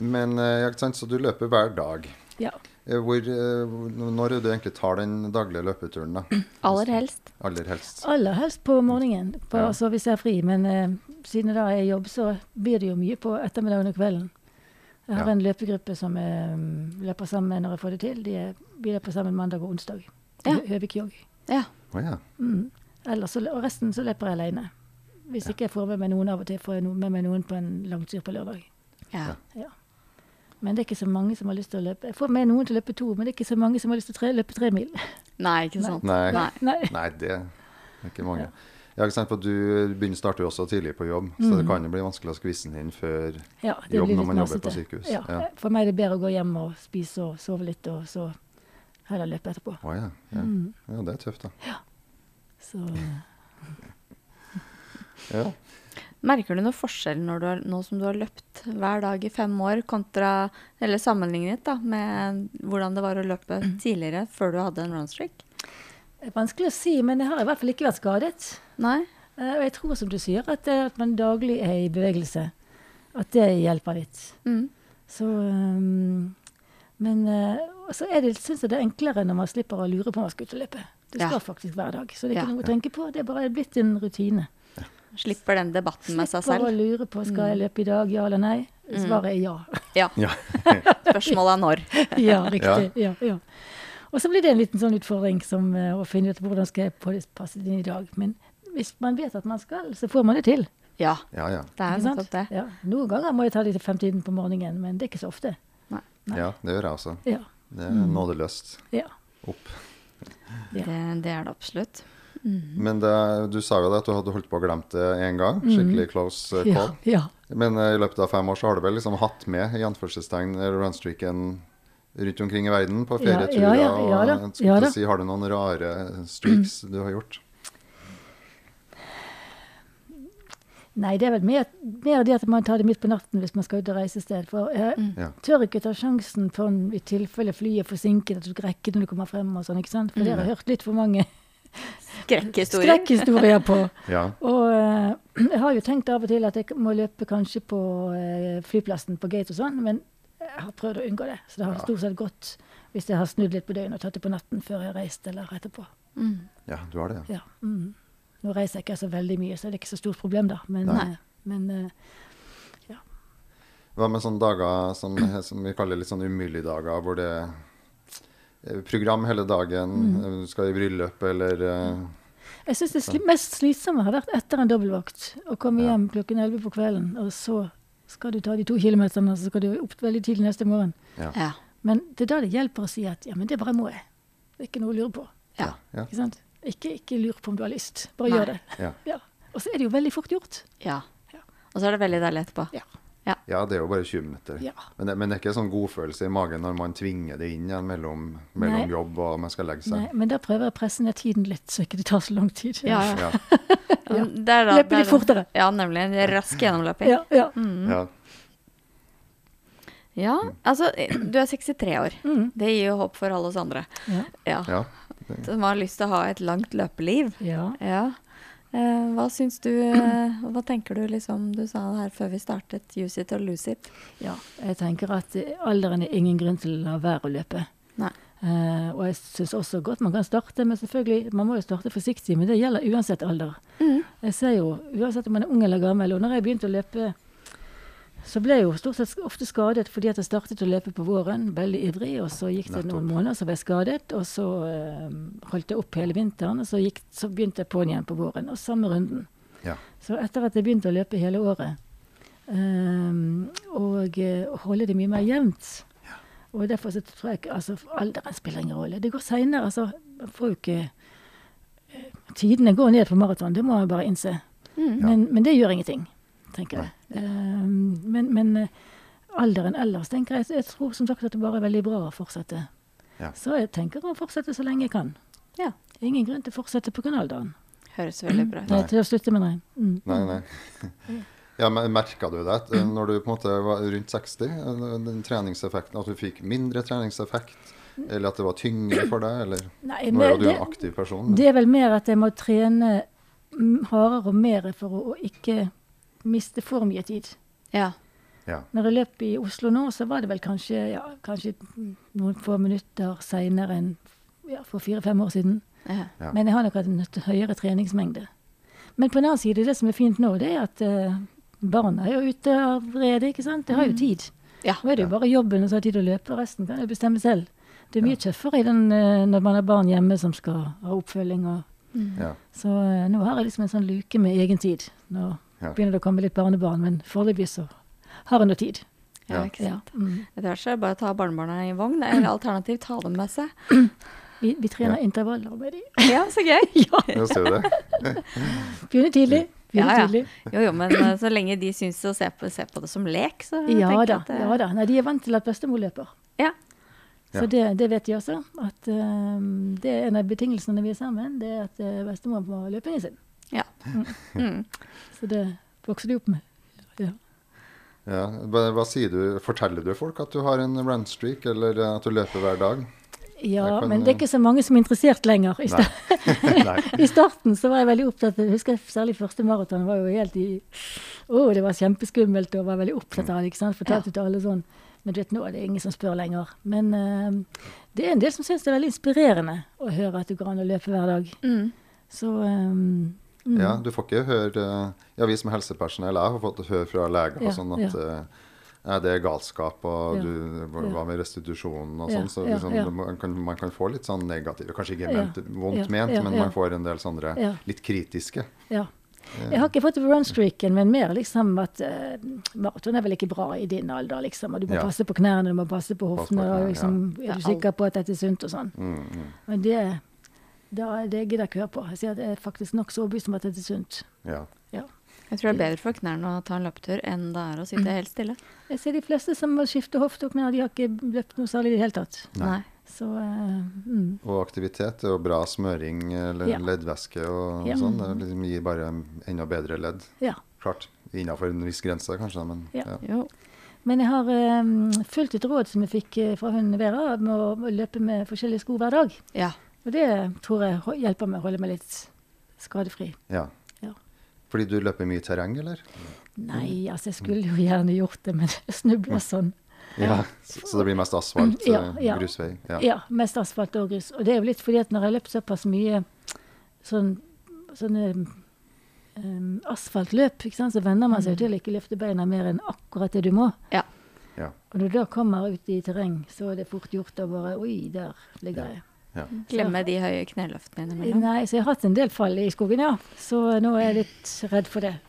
Men eh, ja, ikke sant, så du løper hver dag. Ja. Eh, Hvor, eh, hvor- når er det du egentlig tar den daglige løpeturen, da? Mm. Aller helst. Aller helst. Aller helst på morgenen, på, Ja. altså hvis jeg er fri. Men eh, siden jeg da er i jobb, så blir det jo mye på ettermiddagen og kvelden. Jeg har Ja. en løpegruppe som eh, løper sammen med når jeg får det til. De er, vi løper sammen mandag og onsdag. Ja. Hø- Høvikjogg. Ja. Å ja. Mm. Ellers så, og resten så løper jeg alene. Hvis ikke jeg får med meg noen av og til, får jeg no med meg noen på en langtur på lørdag. ja. Men det er ikke så mange som har lyst til å løpe. Jeg får med noen til å løpe to, men det er ikke så mange som har lyst til å tre, løpe tre mil. Nei, ikke sant. Nei. Nei. Nei. Nei, det er ikke mange. Ja. ikke sant, for Du begynner starter jo også tidlig på jobb, så det kan jo bli vanskelig å skvisse den inn før Ja, Jobb når Mm. litt man jobber på masete. sykehus. Ja. Ja. For meg er det bedre å gå hjem og spise og sove litt, og så heller løpe etterpå. Å ja. Ja. Mm. ja, det er tøft, da. Så eh, Ja. Merker du noe forskjell når du har, nå som du har løpt hver dag i fem år, kontra, eller sammenlignet da, med hvordan det var å løpe Mm. tidligere, før du hadde en runstreak? det er vanskelig å si, men jeg har i hvert fall ikke vært skadet. Nei? Eh, Og jeg tror, som du sier, at det at man daglig er i bevegelse, at det hjelper litt. Mm. Så um, Men eh, og så er det, synes jeg det er enklere når man slipper å lure på om man skal ut og løpe. Det Ja. skal faktisk hver dag, så det er ikke Ja. noe å tenke på. Det er bare blitt en rutine. Slipper den debatten med seg Slipper å selv? Mm. lure på skal jeg løpe i dag, ja eller nei. Svaret er ja. Ja. Ja. Spørsmålet er når. ja, riktig. Ja. Ja, Og så blir det en liten sånn utfordring som eh, å finne ut hvordan skal jeg på- passe det inn i dag. Men hvis man vet at man skal, så får man det til. Ja, Ja, ja. det er Ikke jo sant? nettopp det. Ja. Noen ganger må jeg ta det til femtiden på morgenen, men det er ikke så ofte. ja det gjør jeg også. Ja. Det er nådeløst. Mm. ja. Opp. Ja. Det, det er det absolutt. Men det, du sa jo det at du hadde holdt på å glemme det én gang. Skikkelig close eh, Mm. Ja. call. ja. Men eh, i løpet av fem år så har du vel liksom hatt med i anførselstegn eh, runstreaken rundt omkring i verden på Ja, ferieturer? ja, ja, ja da, og, eh, skulle ja da. Mm. Si, har du noen rare streaks du har gjort? Nei, det er vel mer, mer det at man tar det midt på natten hvis man skal ut og reise et sted. For jeg Mm. Ja. tør ikke ta sjansen på en, i tilfelle flyet er forsinket, at du skal rekke det når du kommer frem og sånn, ikke sant. For dere har hørt litt for mange Skrekkhistorie. skrekkhistorier på. Ja. Og eh, jeg har jo tenkt av og til at jeg må løpe kanskje på eh, flyplassen på gate og sånn, men jeg har prøvd å unngå det. Så det har stort sett gått hvis jeg har snudd litt på døgnet og tatt det på natten før jeg har reist eller etterpå. Mm. ja, du har det. ja. Ja. Mm. Nå reiser jeg ikke så veldig mye, så det er ikke så stort problem, da. Men, Nei. eh, men eh, Hva med sånne dager som, som vi kaller litt sånn umulige dager, hvor det er program hele dagen, Mm. eh, du skal i bryllup eller eh, Jeg syns det sli mest slitsomme har vært etter en dobbeltvakt. Å komme Ja. hjem klokken 11 på kvelden, og så skal du ta de to kilometerne, og så skal du opp veldig tidlig neste morgen. Ja. Men det er da det hjelper å si at ja, men det bare må jeg. Det er ikke noe å lure på. ja. ja, Ikke sant? Ikke, ikke lur på om du har lyst. Bare Nei. gjør det. ja. Ja. Og så er det jo veldig fort gjort. Ja. Ja. Og så er det veldig deilig etterpå. Ja. ja, det er jo bare 20 minutter. Ja. Men, det, men det er ikke sånn godfølelse i magen når man tvinger det inn igjen mellom, Nei. mellom jobb og man skal legge Nei, seg. men da prøver jeg å presse ned tiden litt, så ikke det tar så lang tid. Ja, ja. Ja, Ja, det er da- det er Løpe litt da- fortere. Ja, nemlig. Rask gjennomløping. Ja, ja. ja. Ja, altså du er 63 år. Mm. Det gir jo håp for alle oss andre. Ja. Ja. Ja. Som har lyst til å ha et langt løpeliv. ja. Ja. Eh, hva syns du eh, Hva tenker du liksom Du sa det her før vi startet, use it or lose it. Ja, jeg tenker at alderen er ingen grunn til å la være å løpe. Nei. Eh, og jeg syns også godt man kan starte, men selvfølgelig, man må jo starte forsiktig. Men det gjelder uansett alder. Jeg ser jo, uansett om man er ung eller gammel, og når jeg begynte å løpe, så ble jeg jo stort sett ofte skadet fordi at jeg startet å løpe på våren, veldig ivrig, og så gikk det noen Nettopp. måneder, så ble jeg skadet, og så eh, holdt jeg opp hele vinteren, og så, gikk, så begynte jeg på'n igjen på våren, og samme runden. Ja. Så etter at jeg begynte å løpe hele året, ehm, og eh, holde det mye mer jevnt Og derfor så tror jeg ikke altså, alderen spiller ingen rolle. Det går seinere, altså. Man får jo ikke eh, Tidene går ned på maraton, det må man bare innse. Mm. Men, men det gjør ingenting, tenker jeg. Ehm, men men eh, alderen ellers, tenker jeg. Jeg tror som sagt at det bare er veldig bra å fortsette. Ja. Så jeg tenker å fortsette så lenge jeg kan. Ja. Ingen grunn til å fortsette på kanaldalen. Høres veldig bra ut. Nei, til å slutte med, nei. Mm. Nei, nei. Ja, men Merka du det at, eh, når du på en måte var rundt 60? eh, Den treningseffekten, At du fikk mindre treningseffekt? Eller at det var tyngre for deg? Eller? Mm. Nei, Nå er jo du men det, en aktiv person. Men, det er vel mer at jeg må trene mm, hardere og mer for å, å ikke miste for mye tid. Ja. ja. Når jeg løp i Oslo nå, så var det vel kanskje, ja, kanskje mm, noen få minutter seinere enn ja, for fire-fem år siden. ja. Ja. Men jeg har nok hatt en nødt- høyere treningsmengde. Men på den annen side, det som er fint nå, det er at eh, barna er jo ute allerede, ikke sant. De har jo tid. Ja. Nå er det jo bare jobben og så har de tid til å løpe, og resten kan de bestemme selv. Det er mye tøffere i den, eh, når man har barn hjemme som skal ha oppfølging og Mm. Ja. Så eh, nå har jeg liksom en sånn luke med egen tid. Nå Ja. begynner det å komme litt barnebarn, men foreløpig så har jeg nå tid. ja. Ja. Ikke Ja. sant. Mm. Etter hvert så er det bare å ta barnebarna i vogn, eller alternativt ta dem med seg. Vi, vi trener Ja. intervaller med de. Ja, så gøy. ja. Ja, ser du det? Begynner tidlig. Begynner Ja, ja. tidlig. Jo, jo, men eh, så lenge de syns å se på, se på det som lek, så Ja tenker jeg da. at eh, ja da. Nei, de er vant til at bestemor løper. Ja. Ja. Så det, det vet de også. At eh, det er en av betingelsene når vi er sammen, det er at eh, bestemor må ha løpingen sin. Ja. Mm. Så det vokser de opp med. Ja. Ja. Hva, hva sier du? Forteller du folk at du har en runstreak, eller eh, at du løper hver dag? Ja, Jeg kan, men det er eh, ikke så mange som er interessert lenger. I, sta Nei. I starten så var jeg veldig opptatt Jeg husker særlig første maraton var jo helt i Å, det var kjempeskummelt og var veldig opptatt av det. ikke sant? Fortalte til alle sånn. Men du vet, nå er det ingen som spør lenger. Men eh, det er en del som syns det er veldig inspirerende å høre at det går an å løpe hver dag. Mm. Så eh, mm, Ja, du får ikke høre eh, Ja, vi som helsepersonell jeg har fått høre fra leger Ja, og sånn at eh, Nei, det er galskap, og Ja, du, hva ja. hva med restitusjonen og Ja, sånn. Så ja, liksom, ja. det- Man, kan, man kan få litt sånn negative Kanskje ikke Ja, ment, vondt ja, ment, ja, men ja. man får en del sånne Ja. litt kritiske. ja. Jeg har ikke fått runstreaken, men mer liksom at eh, maraton er vel ikke bra i din alder, liksom. Og du må Ja. passe på knærne, du må passe på Pass på hoftene. knærne, og liksom, ja. Er du sikker på at dette er sunt og sånn? Mm, mm, Men det, da, det gidder jeg ikke høre på. Jeg sier at jeg er faktisk nokså overbevist om at dette er sunt. ja. Ja. Jeg tror det er bedre for knærne å ta en løpetur enn det er å sitte helt stille. Jeg ser de fleste som må skifte hofte og knær, de har ikke løpt noe særlig i det hele tatt. Nei. Så eh, mm. Og aktivitet er jo bra smøring eller Ja. leddvæske og Ja. sånn. Det liksom gir bare enda bedre ledd. ja. Klart innafor en viss grense, kanskje, men Ja. ja. Jo. Men jeg har eh, fulgt et råd som jeg fikk eh, fra hun Vera, med å, å løpe med forskjellige sko hver dag. Ja. Og det tror jeg ho- hjelper meg å holde meg litt skadefri. ja. Ja. Fordi du løper mye terreng, eller? Nei, altså jeg skulle jo gjerne gjort det, men jeg snubler sånn. Ja. Så, så det blir mest asfalt, Ja, eh, ja. grusvei? Ja. mest asfalt og grus. Og det er jo litt fordi at når jeg har løpt såpass mye sånn, sånne em, asfaltløp, ikke sant, så venner man seg Mm. jo til å ikke løfte beina mer enn akkurat det du må. Ja. Ja. Og når du da kommer ut i terreng, så er det fort gjort å bare Oi, der ligger jeg. ja. Glemme de høye kneløftene innimellom. Nei, så jeg har hatt en del fall i skogen, ja. Så nå er jeg litt redd for det.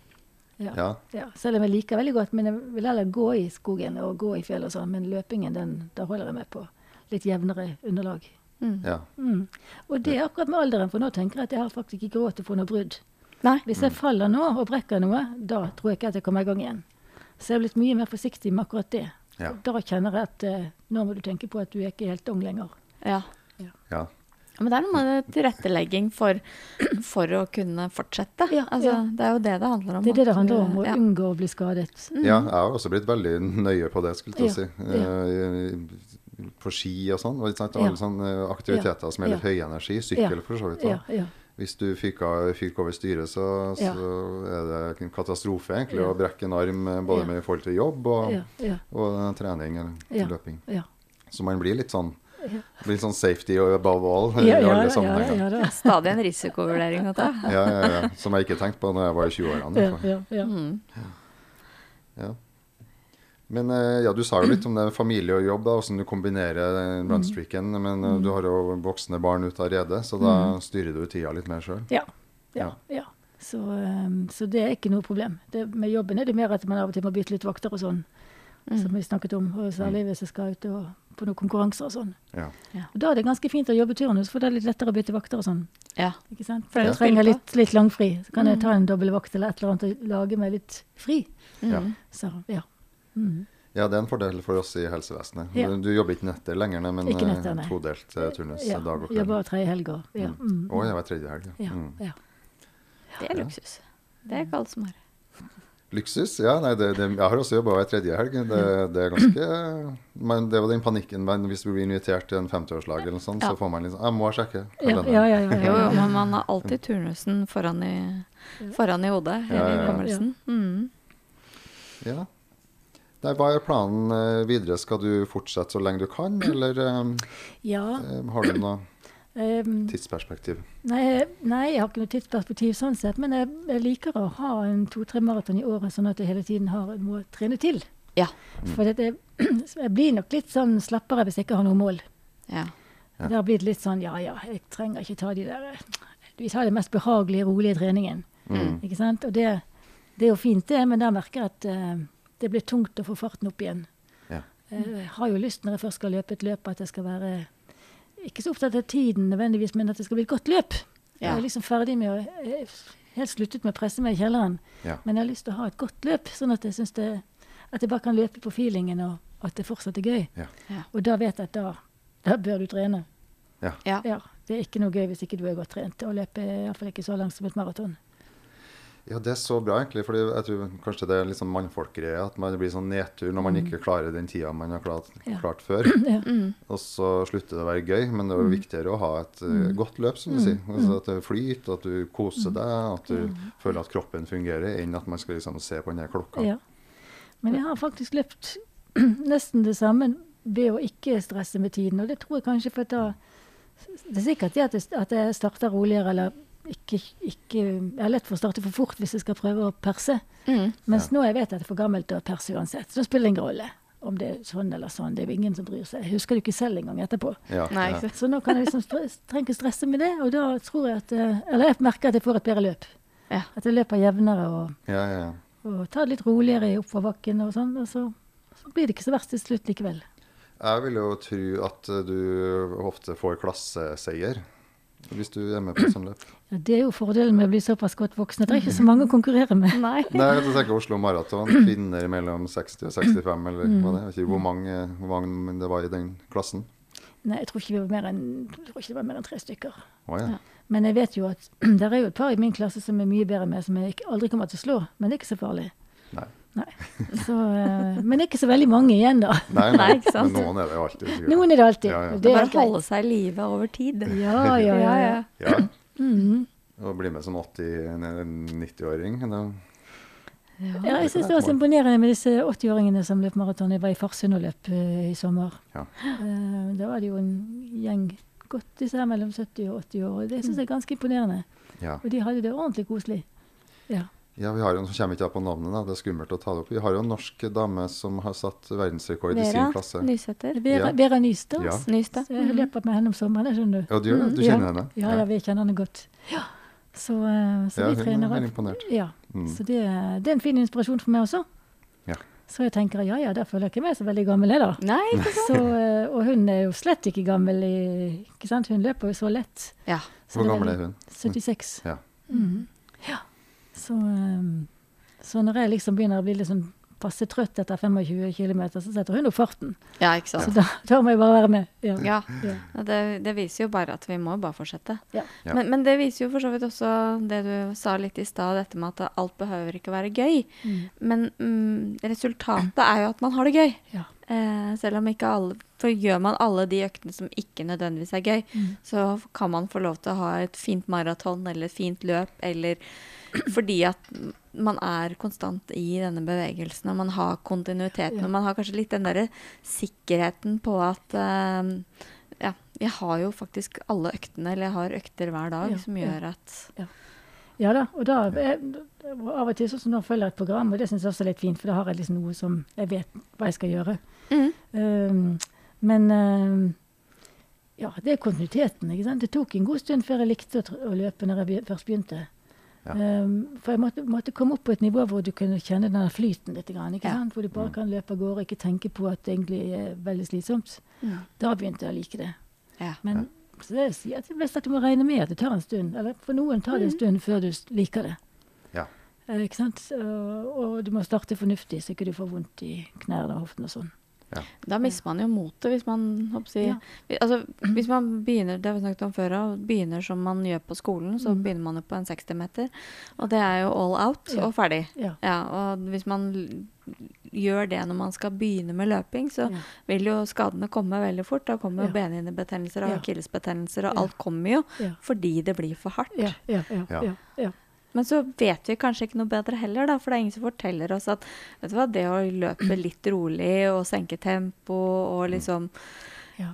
Ja. Ja. Ja, selv om jeg liker veldig godt, men jeg vil heller gå i skogen og gå i fjell og sånn. Men løpingen, den, da holder jeg meg på litt jevnere underlag. ja. Mm. Og det er akkurat med alderen, for nå tenker jeg at jeg har faktisk ikke råd til å få noe brudd. Nei. Hvis jeg faller nå og brekker noe, da tror jeg ikke at jeg kommer i gang igjen. Så jeg er blitt mye mer forsiktig med akkurat det. Ja. Og Da kjenner jeg at eh, nå må du tenke på at du er ikke helt ung lenger. Ja. ja. Ja, Men det er noe med tilrettelegging for, for å kunne fortsette. Ja, altså, ja. Det er jo det det handler om. Det er det det at handler du- om, å ja. unngå å bli skadet. Ja, jeg har også blitt veldig nøye på det, skulle jeg til å si. Mm. Ja, Eh, På ski og sånn. og ikke sant, Ja. Alle sånne aktiviteter som er litt høyenergi. Sykkel, for så vidt. Ja, Da. ja. Hvis du fyker, fyker over styret, så, Ja. så er det en katastrofe egentlig Ja. å brekke en arm eh, både Ja. med i forhold til jobb og, Ja, ja, og eh, trening eller Ja. løping. ja. Så man blir litt sånn, Ja. blir litt sånn safety above all Ja, i ja, alle ja, sammenhenger. ja, da. Stadig en risikovurdering å ta. ja, ja, ja. Som jeg ikke tenkte på når jeg var i 20-årene. i ja, hvert fall. ja, ja. Mm. Ja. Men eh, ja, du sa jo litt om det med familie og jobb, da, hvordan du kombinerer eh, Mm. runstreaken. Men eh, du har jo voksne barn ute allerede, så da Mm. styrer du tida litt mer sjøl. Ja. ja, ja. Så, ehm, så det er ikke noe problem. Det, med jobben er det mer at man av og til må bytte litt vakter og sånn. Mm. Som vi snakket om, og særlig hvis jeg skal ut og, på noen konkurranser og sånn. Ja. Og Da er det ganske fint å jobbe turnus, for det er litt lettere å bytte vakter og sånn. Ja. Mm. Ikke sant? For det er jeg å spille trenger på. litt, litt langfri. Så kan jeg ta en dobbel vakt eller et eller annet og lage meg litt fri. Ja. Så ja. Mm. ja, det er en fordel for oss i helsevesenet. Ja. Du, du jobber ikke netter lenger, nei, men Ikke netter, eh, nei. todelt eh, turnus ja. dag og kveld. Jobber tre helger. Ja. Mm. Å, jeg var tredje helg. ja. Ja, Mm. ja. Det er luksus. Det er ikke alle som har. Luksus? Ja, nei, det, det, jeg har også jobba hver tredje helg. Det, det er ganske Men det var den panikken. Men hvis du blir invitert til en 50-årslag eller noe sånt, Ja. så får man liksom Jeg må sjekke. Ja, kalenderen. ja, ja, ja, Jo, ja, jo, ja. men man har alltid turnusen foran i, foran i hodet. Ja, ja, Hele ja. hukommelsen. Mm. Ja. Nei, hva er planen eh, videre? Skal du fortsette så lenge du kan, eller eh, ja. eh, har du noe ehm, tidsperspektiv? Nei, eh, nei, jeg har ikke noe tidsperspektiv sånn sett, men jeg, jeg liker å ha en to-tre maraton i året, sånn at jeg hele tiden har, må trene til. Ja. For at jeg, så jeg blir nok litt sånn slappere hvis jeg ikke har noe mål. ja. Ja. Det har blitt litt sånn ja ja, jeg trenger ikke ta de der eh, Vi tar den mest behagelige, rolige treningen. Mm. Ikke sant? Og det, det er jo fint, det, men der merker jeg at eh, det blir tungt å få farten opp igjen. Ja. Eh, Jeg har jo lyst når jeg først skal løpe et løp, at jeg skal være ikke så opptatt av tiden nødvendigvis, men at det skal bli et godt løp. Ja. Jeg er liksom ferdig med å jeg har Helt sluttet med å presse meg i kjelleren. Ja. Men jeg har lyst til å ha et godt løp, sånn at jeg synes det At jeg bare kan løpe på feelingen, og at det fortsatt er gøy. Ja. Ja. Og da vet jeg at da, da bør du trene. Ja. Ja. Ja, Det er ikke noe gøy hvis ikke du er godt trent. Å løpe er iallfall ikke så langt som et maraton. ja, det er så bra, egentlig. For jeg tror kanskje det er litt sånn mannfolkgreie. At man blir sånn nedtur når man ikke klarer den tida man har klart, Ja. klart før. Ja. Og så slutter det å være gøy, men det er jo viktigere å ha et eh, godt løp, som du sier. Altså at det flyter, at du koser deg, at du føler at kroppen fungerer, enn at man skal liksom se på den der klokka. Ja. Men jeg har faktisk løpt nesten det samme ved å ikke stresse med tiden. Og det tror jeg kanskje for at da Det er sikkert det at jeg, at jeg starter roligere eller ikke, ikke Jeg er lett for å starte for fort hvis jeg skal prøve å perse. Mm. Mens nå jeg vet at det er for gammelt til å perse uansett. Så det spiller det ingen rolle om det er sånn eller sånn. Det er jo ingen som bryr seg. Jeg husker det jo ikke selv engang etterpå. Ja, Nei, ja. ikke sant. Så nå kan jeg liksom stre- trenger ikke stresse med det. Og da tror jeg at eh, Eller jeg merker at jeg får et bedre løp. Ja. At jeg løper jevnere og, ja, ja, ja. og tar det litt roligere oppoverbakken og sånn. Og så, så blir det ikke så verst til slutt likevel. Jeg vil jo tro at eh, du ofte får klasseseier hvis du er med på et sånt løp. Ja, det er jo fordelen med å bli såpass godt voksen. at Det er ikke så mange å konkurrere med. Nei. Nei, jeg tenker Oslo Maraton. Kvinner mellom 60 og 65, eller Mm. hva det er. Jeg vet ikke hvor mange, hvor mange det var i den klassen. Nei, jeg tror ikke, vi var mer enn, jeg tror ikke det var mer enn tre stykker. Å ja. Men jeg vet jo at det er jo et par i min klasse som er mye bedre enn meg, som jeg ikke- aldri kommer til å slå. Men det er ikke så farlig. Nei. Nei. Så, eh, men det er ikke så veldig mange igjen, da. Nei, nei. Nei, ikke sant? Men noen er det jo alltid. sikkert. Noen er det alltid. Ja, ja. og Det er Det er bare å greit. holde seg i live over tid. Ja, ja, ja. ja. Mm. Ja. Og blir med som 80-90-åring. Ja, jeg synes det var så imponerende med disse 80-åringene som løp maraton. Jeg var i Farsund og løp eh, i sommer. Ja. Eh, da var det jo en gjeng godt disse her mellom 70 og 80 år. og Det Mm. syns jeg er ganske imponerende. Ja. Og de hadde det ordentlig koselig. Ja. ja, vi har jo, Nå kommer jeg ikke på navnet, da. det er skummelt å ta det opp. Vi har jo en norsk dame som har satt verdensrekord i Vera sin klasse. Nysæter. Vera, Ja. Vera Nystad. Ja. Nystad. Så jeg løper med henne om sommeren, jeg skjønner du. Ja, du, gjør det? du Mm, Ja. kjenner henne? Ja, ja, vi kjenner henne godt. Så, eh, så Ja, vi hun er trener. veldig imponert. Ja. Mm. Så det, det er en fin inspirasjon for meg også. Ja. Så jeg tenker ja ja, der føler jeg ikke meg så veldig gammel, jeg da. Nei, ikke sant. Så, eh, og hun er jo slett ikke gammel. i- Ikke sant? Hun løper jo så lett. Ja. Så Hvor det gammel veldig- er hun? 76. Ja. Mm. Mhm. ja. Så, eh, så når jeg liksom begynner å bli litt sånn passe trøtt etter 25 km, så setter hun opp farten. Ja, ikke Så sant. da, da må jeg bare være med. Ja. Ja, Ja. det, det viser jo bare at vi må bare fortsette. Ja. Ja. Men, men det viser jo for så vidt også det du sa litt i stad, dette med at alt behøver ikke være gøy. Mm. Men mm, resultatet er jo at man har det gøy. Ja. Eh, selv om ikke alle For gjør man alle de øktene som ikke nødvendigvis er gøy, Mm. så kan man få lov til å ha et fint maraton eller et fint løp, eller fordi at man er konstant i denne bevegelsen, og man har kontinuiteten, Ja. og man har kanskje litt den derre sikkerheten på at eh, Ja, jeg har jo faktisk alle øktene, eller jeg har økter hver dag, Ja, som ja. gjør at Ja da, og da jeg, og av og til sånn som nå følger jeg et program, og det syns jeg også er litt fint, for da har jeg liksom noe som jeg vet hva jeg skal gjøre. mm, Um, men um, ja, det er kontinuiteten, ikke sant. Det tok en god stund før jeg likte å, tr- å løpe når jeg be først begynte. Ja. Um, for jeg måtte, måtte komme opp på et nivå hvor du kunne kjenne den der flyten litt. Grann, ikke Ja. sant? Hvor du bare Mm. kan løpe av gårde og ikke tenke på at det egentlig er veldig slitsomt. mm, Da begynte jeg å like det. Ja. Men så det sier jeg til de fleste at du må regne med at det tar en stund. Eller for noen tar Mm. det en stund før du s- liker det. Ja. Eh, ikke sant? Og, og du må starte fornuftig, så ikke du får vondt i knærne og hoften og sånn. Da mister man jo motet hvis man håper jeg å Ja. si, vi- altså, Hvis man begynner det har vi snakket om før, og begynner som man gjør på skolen, så Mm. begynner man jo på en 60-meter. Og det er jo all out Ja. og ferdig. Ja. Ja, og hvis man l- gjør det når man skal begynne med løping, så Ja. vil jo skadene komme veldig fort. Da kommer jo Ja. benhinnebetennelser og Ja. akillesbetennelser, og Ja. alt kommer jo Ja. fordi det blir for hardt. Ja, ja, ja, Ja. ja, ja. Men så vet vi kanskje ikke noe bedre heller, da, for det er ingen som forteller oss at vet du hva, det å løpe litt rolig og senke tempo og liksom ja.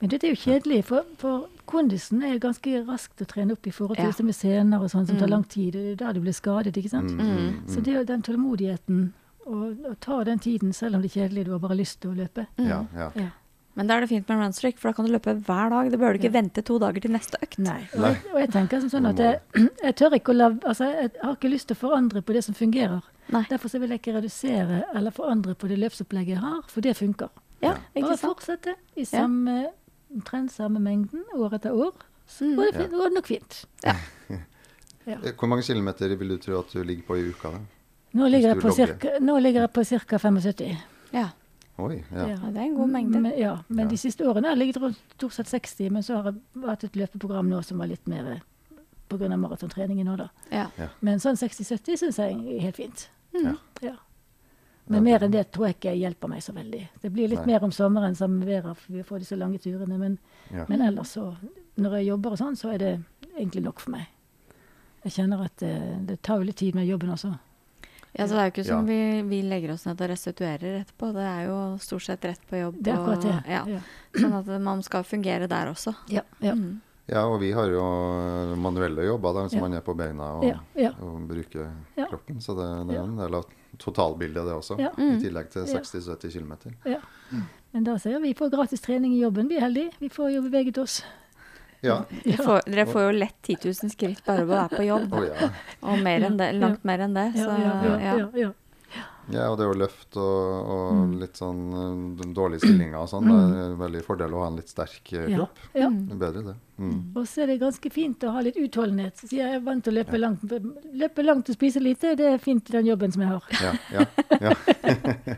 Men dette er jo kjedelig, for, for kondisen er jo ganske raskt å trene opp i forhold til Ja. disse med sener og sånn som Mm. tar lang tid. og Det er jo der du blir skadet, ikke sant. Mm, Mm. mm, Så det er jo den tålmodigheten, og, og ta den tiden selv om det er kjedelig, du har bare lyst til å løpe. mm. Ja, ja. Ja. Men da er det fint med en runstreak, for da kan du løpe hver dag. Da bør du ikke Ja. vente to dager til neste økt. Nei. Og Nei. jeg, og jeg tenker som sånn Det at må jeg, jeg tør ikke å la Altså, jeg har ikke lyst til å forandre på det som fungerer. Nei. Derfor så vil jeg ikke redusere eller forandre på det løpsopplegget jeg har, for det funker. Ja, ikke Bare sant? fortsette i samme, omtrent samme mengden år etter år. Så Mm. går det, fint, går det nok fint. Hvor mange kilometer vil du tro at du ligger på i uka? da? Nå ligger jeg på Hvis du logger. cirka, nå ligger jeg på cirka 75. Ja. Oi, ja. ja, det er en god mengde. Men, ja, men Ja. de siste årene har jeg ligget rundt stort sett 60, men så har jeg hatt et løpeprogram nå som var litt mer eh, pga. maratontreningen nå, da. Ja. Men sånn 60-70 syns jeg er helt fint. Mm. Ja. Men Ja, mer det- enn det tror jeg ikke hjelper meg så veldig. Det blir litt Nei. mer om sommeren som været, for vi får disse lange turene. Men, Ja. men ellers så Når jeg jobber og sånn, så er det egentlig nok for meg. Jeg kjenner at det, det tar jo litt tid med jobben også. Ja, så det er jo ikke som vi, vi legger oss ned og restituerer etterpå. Det er jo stort sett rett på jobb. Det er akkurat det. Og, ja. Ja. Sånn at man skal fungere der også. Ja, ja, Mm. ja, og vi har jo manuelle jobber der, så Ja. man er på beina og, ja, ja, og bruker Ja. kroppen. Så det, det Ja. er en del av totalbildet, det også. Ja. I Mm. tillegg til Ja. 60-70 km. ja. Men da ser vi får gratis trening i jobben. Vi er heldige. Vi får jo beveget oss. Ja. Dere får, dere får jo lett 10 000 skritt bare ved å være på jobb, Å, ja. og mer enn det, langt mer enn det. Så, Altså, ja, ja, ja. ja, ja. Ja, og det å løfte og, og Mm. litt sånn eh, dårlige stillinger og sånn, det er en veldig fordel å ha en litt sterk eh, Ja, kropp. ja. Det er bedre, det. Mm. Og så er det ganske fint å ha litt utholdenhet. Så jeg er vant til å løpe langt. Løpe langt og spise lite, det er fint i den jobben som jeg har. Ja, ja, ja.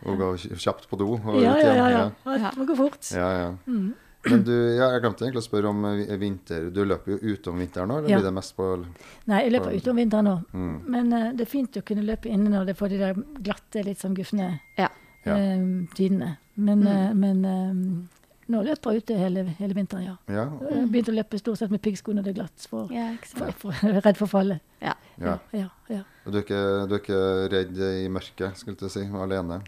og gå kj- kjapt på do og ut Ja, ja, ja. ja. igjen. Alt må gå fort. Ja, ja. Mm. Men du, ja, jeg glemte egentlig å spørre om eh, vi- vinter. Du løper jo ute om vinteren nå, eller Ja. blir det mest på Nei, jeg løper ute om vinteren nå. mm. Men eh, det er fint å kunne løpe inne når det får de der glatte, litt sånn gufne Ja. Ja. eh, tidene. Men, Mm. eh, men eh, nå løper jeg ute hele, hele vinteren, ja. Ja, Jeg begynte å løpe stort sett med piggsko når det er glatt, for, Mm. Ja, ikke sant. for, for, jeg er redd for fallet. Ja. ja. ja, ja. Og du er, ikke, du er ikke redd i mørket, skulle jeg til å si, alene?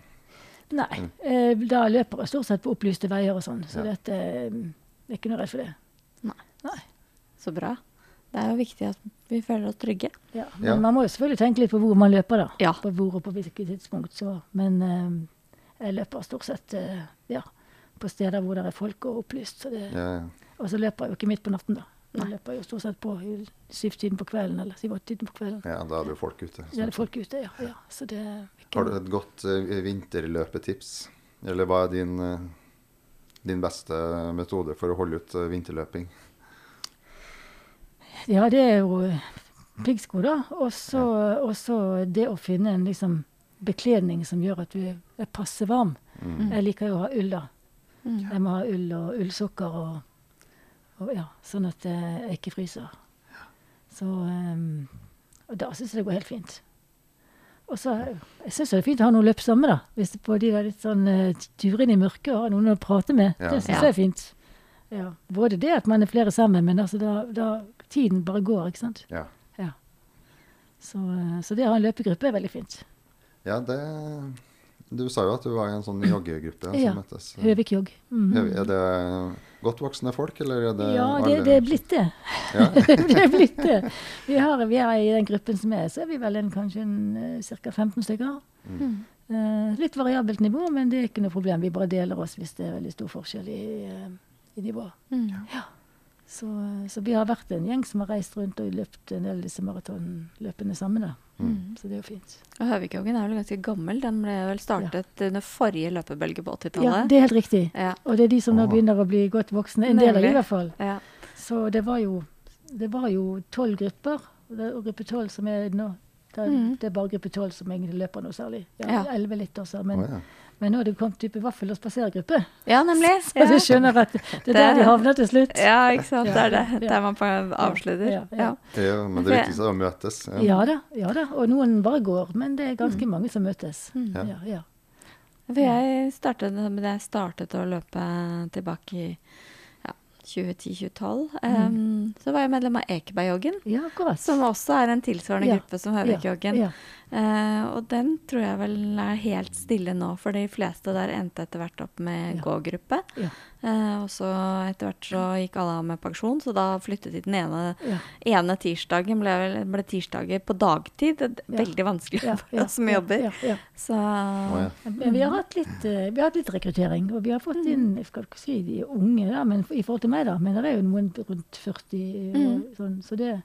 Nei, eh, da løper jeg stort sett på opplyste veier og sånn, så Mm. Ja. dette, eh, jeg er ikke noe redd for det. Så bra. Det er jo viktig at vi føler oss trygge. Ja, men Ja. man må jo selvfølgelig tenke litt på hvor man løper, da. Ja. På hvor og på hvilket tidspunkt. Så. Men eh, jeg løper stort sett eh, ja, på steder hvor det er folk og opplyst. Så det, Ja, ja. Og så løper jeg jo ikke midt på natten, da. Jeg Nei. løper jo stort sett på i syvtiden på kvelden eller syv-åttetiden på kvelden. ja, da er det jo folk ute. Da er det folk ute, ja. ja. Så det er ikke- Har du et godt eh, vinterløpetips? Eller hva er din, eh, din beste metode for å holde ut eh, vinterløping? Ja, det er jo eh, piggsko, da. Og så og så det å finne en liksom bekledning som gjør at du er passe varm. Mm. Jeg liker jo å ha ull, da. Mm. Jeg må ha ull og ullsokker, og, og ja, sånn at eh, jeg ikke fryser. Så ehm, Og da syns jeg det går helt fint. Og så Jeg syns det er fint å ha noen å løpe sammen med, da. Hvis det på de der litt sånn eh, turer inn i mørket og har noen å prate med. Ja. Det syns Ja. jeg er fint. Ja. Både det at man er flere sammen, men altså da, da Tiden bare går, ikke sant. Ja. Så, eh, så det å ha en løpegruppe er veldig fint. ja, det Du sa jo at du var i en sånn joggegruppe Ja. som møttes. Høvik jogg. Mhm. Høvik- Er det godt voksne folk, eller er det Ja, det, alle- det er blitt det. Ja. det er blitt det. Vi, har, vi er I den gruppen som er, så er vi vel en, kanskje ca. 15 stykker. Mm. Eh, litt variabelt nivå, men det er ikke noe problem. Vi bare deler oss hvis det er veldig stor forskjell i, eh, i nivå. Mm. Så, eh, så vi har vært en gjeng som har reist rundt og løpt en del av disse maratonløpene sammen. Da. Mm. Så det er jo fint. Og Høvikhaugen er vel ganske gammel? Den ble vel startet under forrige løpebølge på Ja, 80-tallet? det er helt riktig. Ja. Og det er de som nå Åh. begynner å bli godt voksne. En del av de Nemlig. i hvert fall. Ja. Så det var jo det var jo tolv grupper. Og det- og gruppe tolv som er nå det, Mhm. det er bare gruppe tolv som egentlig løper noe særlig. Ja, Ja. Elleve litt også, men, Å, ja. men nå er det kommet type vaffel- og spasergruppe. ja, nemlig. Så du Ja. skjønner at det er der de havner til slutt. Ja, ikke sant. Det Ja, er det. ja. Der man på- avslutter. Ja, ja. Ja. Ja, men det Det- viktigste er å møtes. Ja. Ja da, ja da. Og noen bare går, men det er Mm. ganske mange som møtes. Ja. Ja, ja. For jeg startet, men jeg startet å løpe tilbake i ja, 2010-2012. Mm. Em, så var jeg medlem av Ekebergjoggen, ja akkurat. som også er en tilsvarende Ja, gruppe som ja, Høvikkjoggen. ja. Eh, og den tror jeg vel er helt stille nå, for de fleste der endte etter hvert opp med Ja. gågruppe. Ja. Eh, og så etter hvert så gikk alle av med pensjon, så da flyttet de den ene, Ja. ene tirsdagen ble, vel- ble tirsdager på dagtid. Det er Ja. Veldig vanskelig Ja, for ja, oss som ja, jobber. Ja, ja. Så Å, ja. Men vi har hatt litt, eh, vi har hatt litt rekruttering, og vi har fått Mm. inn jeg skal ikke si de er unge da, men i forhold til meg, da, men det er jo noen rundt 40. Og, Mm. sånn, så det,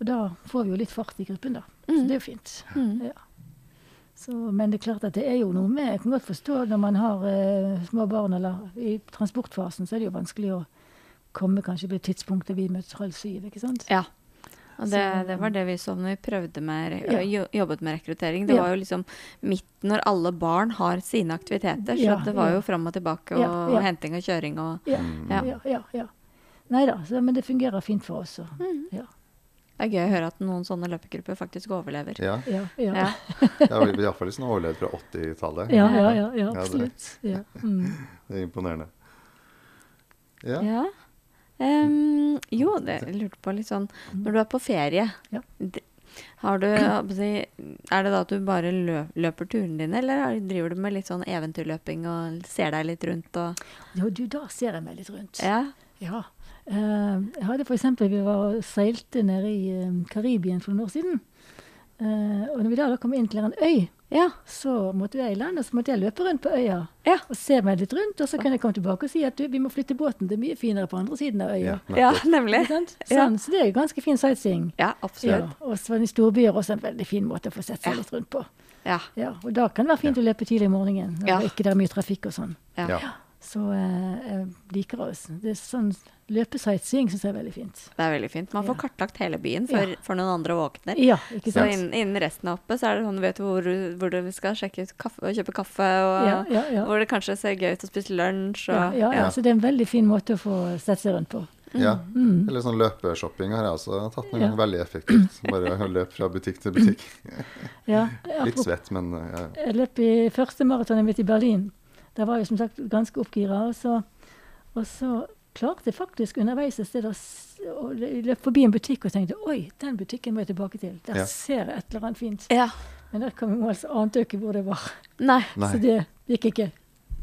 og da får vi jo litt fart i gruppen, da. Så Mm. det er jo fint. Mm. Ja. Så, men det er klart at det er jo noe med Jeg kan godt forstå når man har eh, små barn, eller i transportfasen, så er det jo vanskelig å komme kanskje på det tidspunktet vi møtes halv syv, ikke sant? Ja. Og det, Så- det var det vi så når vi prøvde med, re- Ja. jo- jobbet med rekruttering. Det Ja. var jo liksom midt når alle barn har sine aktiviteter, så Ja, det var ja. jo fram og tilbake og, Ja, ja. henting og kjøring og Ja, Mm. ja, ja. ja, Nei da, men det fungerer fint for oss. Og, Mm. ja, Det er gøy å høre at noen sånne løpegrupper faktisk overlever. Ja. ja, ja. Ja. Ja, vi- vi er iallfall liksom overlevd fra 80-tallet. Ja, ja, ja, ja det- absolutt. Ja. Mm. Det er imponerende. Ja. Ja. Ehm, jo, det jeg lurte på litt sånn Når du er på ferie, Ja. d- har du, hva skal jeg si, er det da at du bare lø- løper turene dine, eller har- driver du med litt sånn eventyrløping og ser deg litt rundt og Jo, du, da ser jeg meg litt rundt. Ja. Ja. Eh, jeg hadde for eksempel, Vi var og seilte nede i eh, Karibien for noen år siden. Eh, og når vi da, da kom inn til en øy, Ja. så måtte jeg i land, og så måtte jeg løpe rundt på øya Ja. og se meg litt rundt. Og så kunne jeg komme tilbake og si at du, vi må flytte båten, det er mye finere på andre siden av øya. Ja. ja Ikke nemlig. sant? Ja. Sånn, så det er jo ganske fin sightseeing. Ja, Ja, absolutt. og så var det i storbyer også en veldig fin måte å få sett seg Ja. litt rundt på. Ja. Ja, og da kan det være fint å løpe tidlig om morgenen, når Ja. det ikke er mye trafikk og sånn. Ja. Ja. Så eh, jeg liker oss. Det er sånn Løpesightseeing syns jeg er veldig fint. Det er veldig fint. Man får Ja. kartlagt hele byen før, Ja. før noen andre våkner. Ja, Så ikke sant? innen, innen resten er oppe, så er det sånn du vet hvor, du- hvor du skal sjekke ut kaffe, og kjøpe kaffe, og Ja, ja, ja. hvor det kanskje ser gøy ut å spise lunsj Ja, og ja, ja, Ja. så det er en veldig fin måte å få sett seg rundt på. ja. Mm. Eller sånn løpeshopping har jeg også tatt noen ganger. Veldig effektivt. Bare å løpe fra butikk til butikk. Ja, Litt apropos- svett, men eh, ja. ja. Jeg løp i første maratonet mitt i Berlin. Da var jeg som sagt ganske oppgira. Og så, og så klarte jeg faktisk underveis et sted å s- å lø- løpe forbi en butikk og tenkte oi, den butikken må jeg tilbake til. Der Ja. ser jeg et eller annet fint. Ja. Men der kom jeg i mål, så ante jeg ikke hvor det var. Nei. Nei. Så det gikk ikke.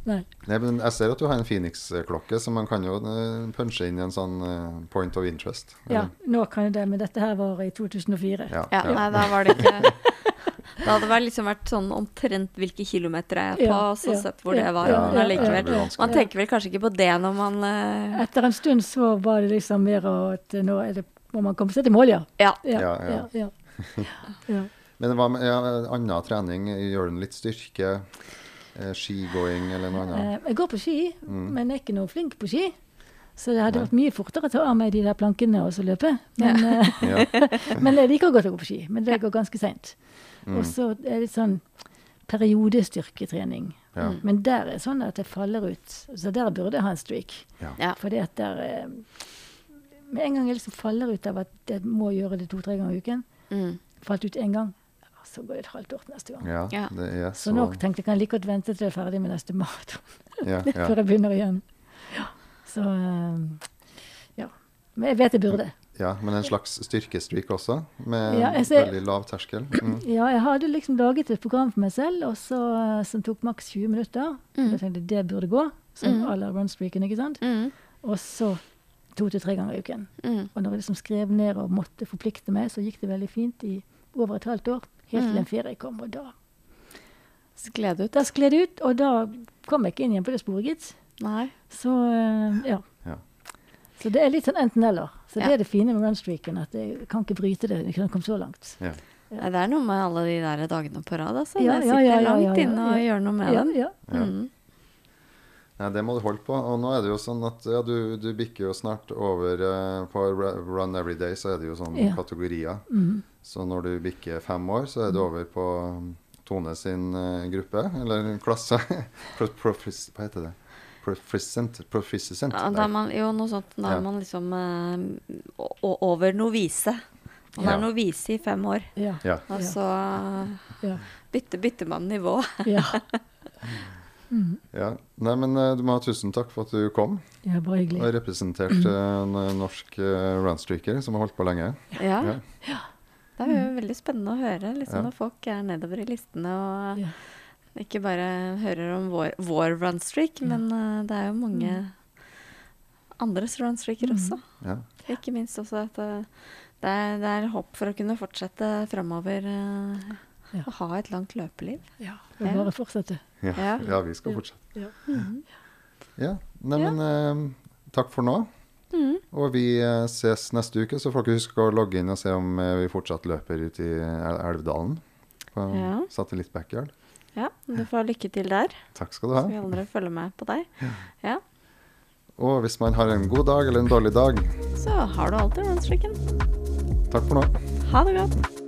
Nei. Nei, men jeg ser at du har en Phoenix-klokke, så man kan jo eh, punche inn i en sånn eh, point of interest. Ja, Eller- nå kan jeg det, men dette her var i 2004. Ja. Ja, ja. nei, da var det ikke Da hadde det liksom vært sånn omtrent hvilke kilometer jeg er på, Ja, og så ja, sett hvor ja, det var. ja, men ja, det allikevel. blir vanskelig. Man tenker vel kanskje ikke på det når man eh, Etter en stund så var det liksom mer at nå er det, må man komme seg til mål, ja. Ja. Ja, ja. ja, ja. ja. Men hva med ja, annen trening? Gjør den litt styrke? Eh, skigåing eller noe annet? Mm, Eh, Jeg går på ski, men jeg er ikke noe flink på ski. Så det hadde vært mye fortere å ta av meg de der plankene og så løpe. Men, eh, Ja. Mm. men jeg liker godt å gå på ski, men det går ganske seint. Og så er det litt sånn periodestyrketrening. Ja. Men der er sånn at jeg faller ut. Så der burde jeg ha en streak. Ja. Ja. Fordi at der eh, Med en gang jeg liksom faller ut av at jeg må gjøre det to-tre ganger i uken, Mm. falt ut én gang, ja, så går det et halvt år til neste gang. ja, Ja. det er Så så nok tenkte jeg kan like godt vente til jeg er ferdig med neste maraton ja, ja. før jeg begynner igjen. Ja. Så eh, ja. Men jeg vet jeg burde. ja, men en slags styrkestreak også, med Ja, jeg ser- veldig lav terskel. Mm. Ja, jeg hadde liksom laget et program for meg selv og så, eh, som tok maks 20 minutter. Mm. Jeg tenkte det burde gå, som Mm. à la runstreaken, ikke sant. Mm. Og så to til tre ganger i uken. Mm. Og når jeg liksom skrev ned og måtte forplikte meg, så gikk det veldig fint i over et halvt år. Helt til Mm. en ferie kom, og da, Skled ut. da skled det ut. Og da kom jeg ikke inn igjen på det sporet, gitt. Nei. Så eh, ja. Ja. Så det er litt sånn enten-eller. Så det Ja. er det fine med runstreaken, at jeg kan ikke bryte det. Jeg kan komme så langt. Ja. Nei, Det er noe med alle de der dagene på rad, altså. Ja, det ja, sitter ja, ja, langt ja, ja, inne å ja. gjøre noe med Ja, den. ja. Ja. Mm. Nei, det må du holde på. Og nå er det jo sånn at ja, du, du bikker jo snart over eh, På Ru- Run Every Day så er det jo sånne Ja. kategorier. Mm. Så når du bikker fem år, så er det over på mm, Tone sin eh, gruppe, eller klasse. Pro- profis, hva heter det? Proficient. Proficient. Ja, da er man, jo, noe sånt. Da Ja. er man liksom eh, o- o- over novise. Man Ja. er novise i fem år, Ja. Ja. og Ja. så Ja. bytter, bytter man nivå. ja. ja. Nei, men eh, du må ha tusen takk for at du kom Ja, og bare hyggelig. representerte en eh, norsk eh, runstreaker som har holdt på lenge. Ja. Ja. Det er jo veldig spennende å høre liksom, Ja. når folk er nedover i listene og Ja. ikke bare hører om vår, vår runstreak, men eh, det er jo mange andres runstreaker også. Ja. Ikke minst også at eh, det er, det er håp for å kunne fortsette framover eh, Ja. og ha et langt løpeliv. Ja. Og bare fortsette. Ja. Ja. ja, vi skal Ja. fortsette. Ja. Ja. Nei, Ja. men eh, takk for nå. Og vi eh, ses neste uke, så får dere huske å logge inn og se om eh, vi fortsatt løper ute i El- Elvdalen. På Ja. Satellittbackyard. Ja, du får lykke til der, Takk skal du så vi ha. andre følger med på deg. Ja, Og hvis man har en god dag eller en dårlig dag, Så har du alltid runstreaken. takk for nå. Ha det godt.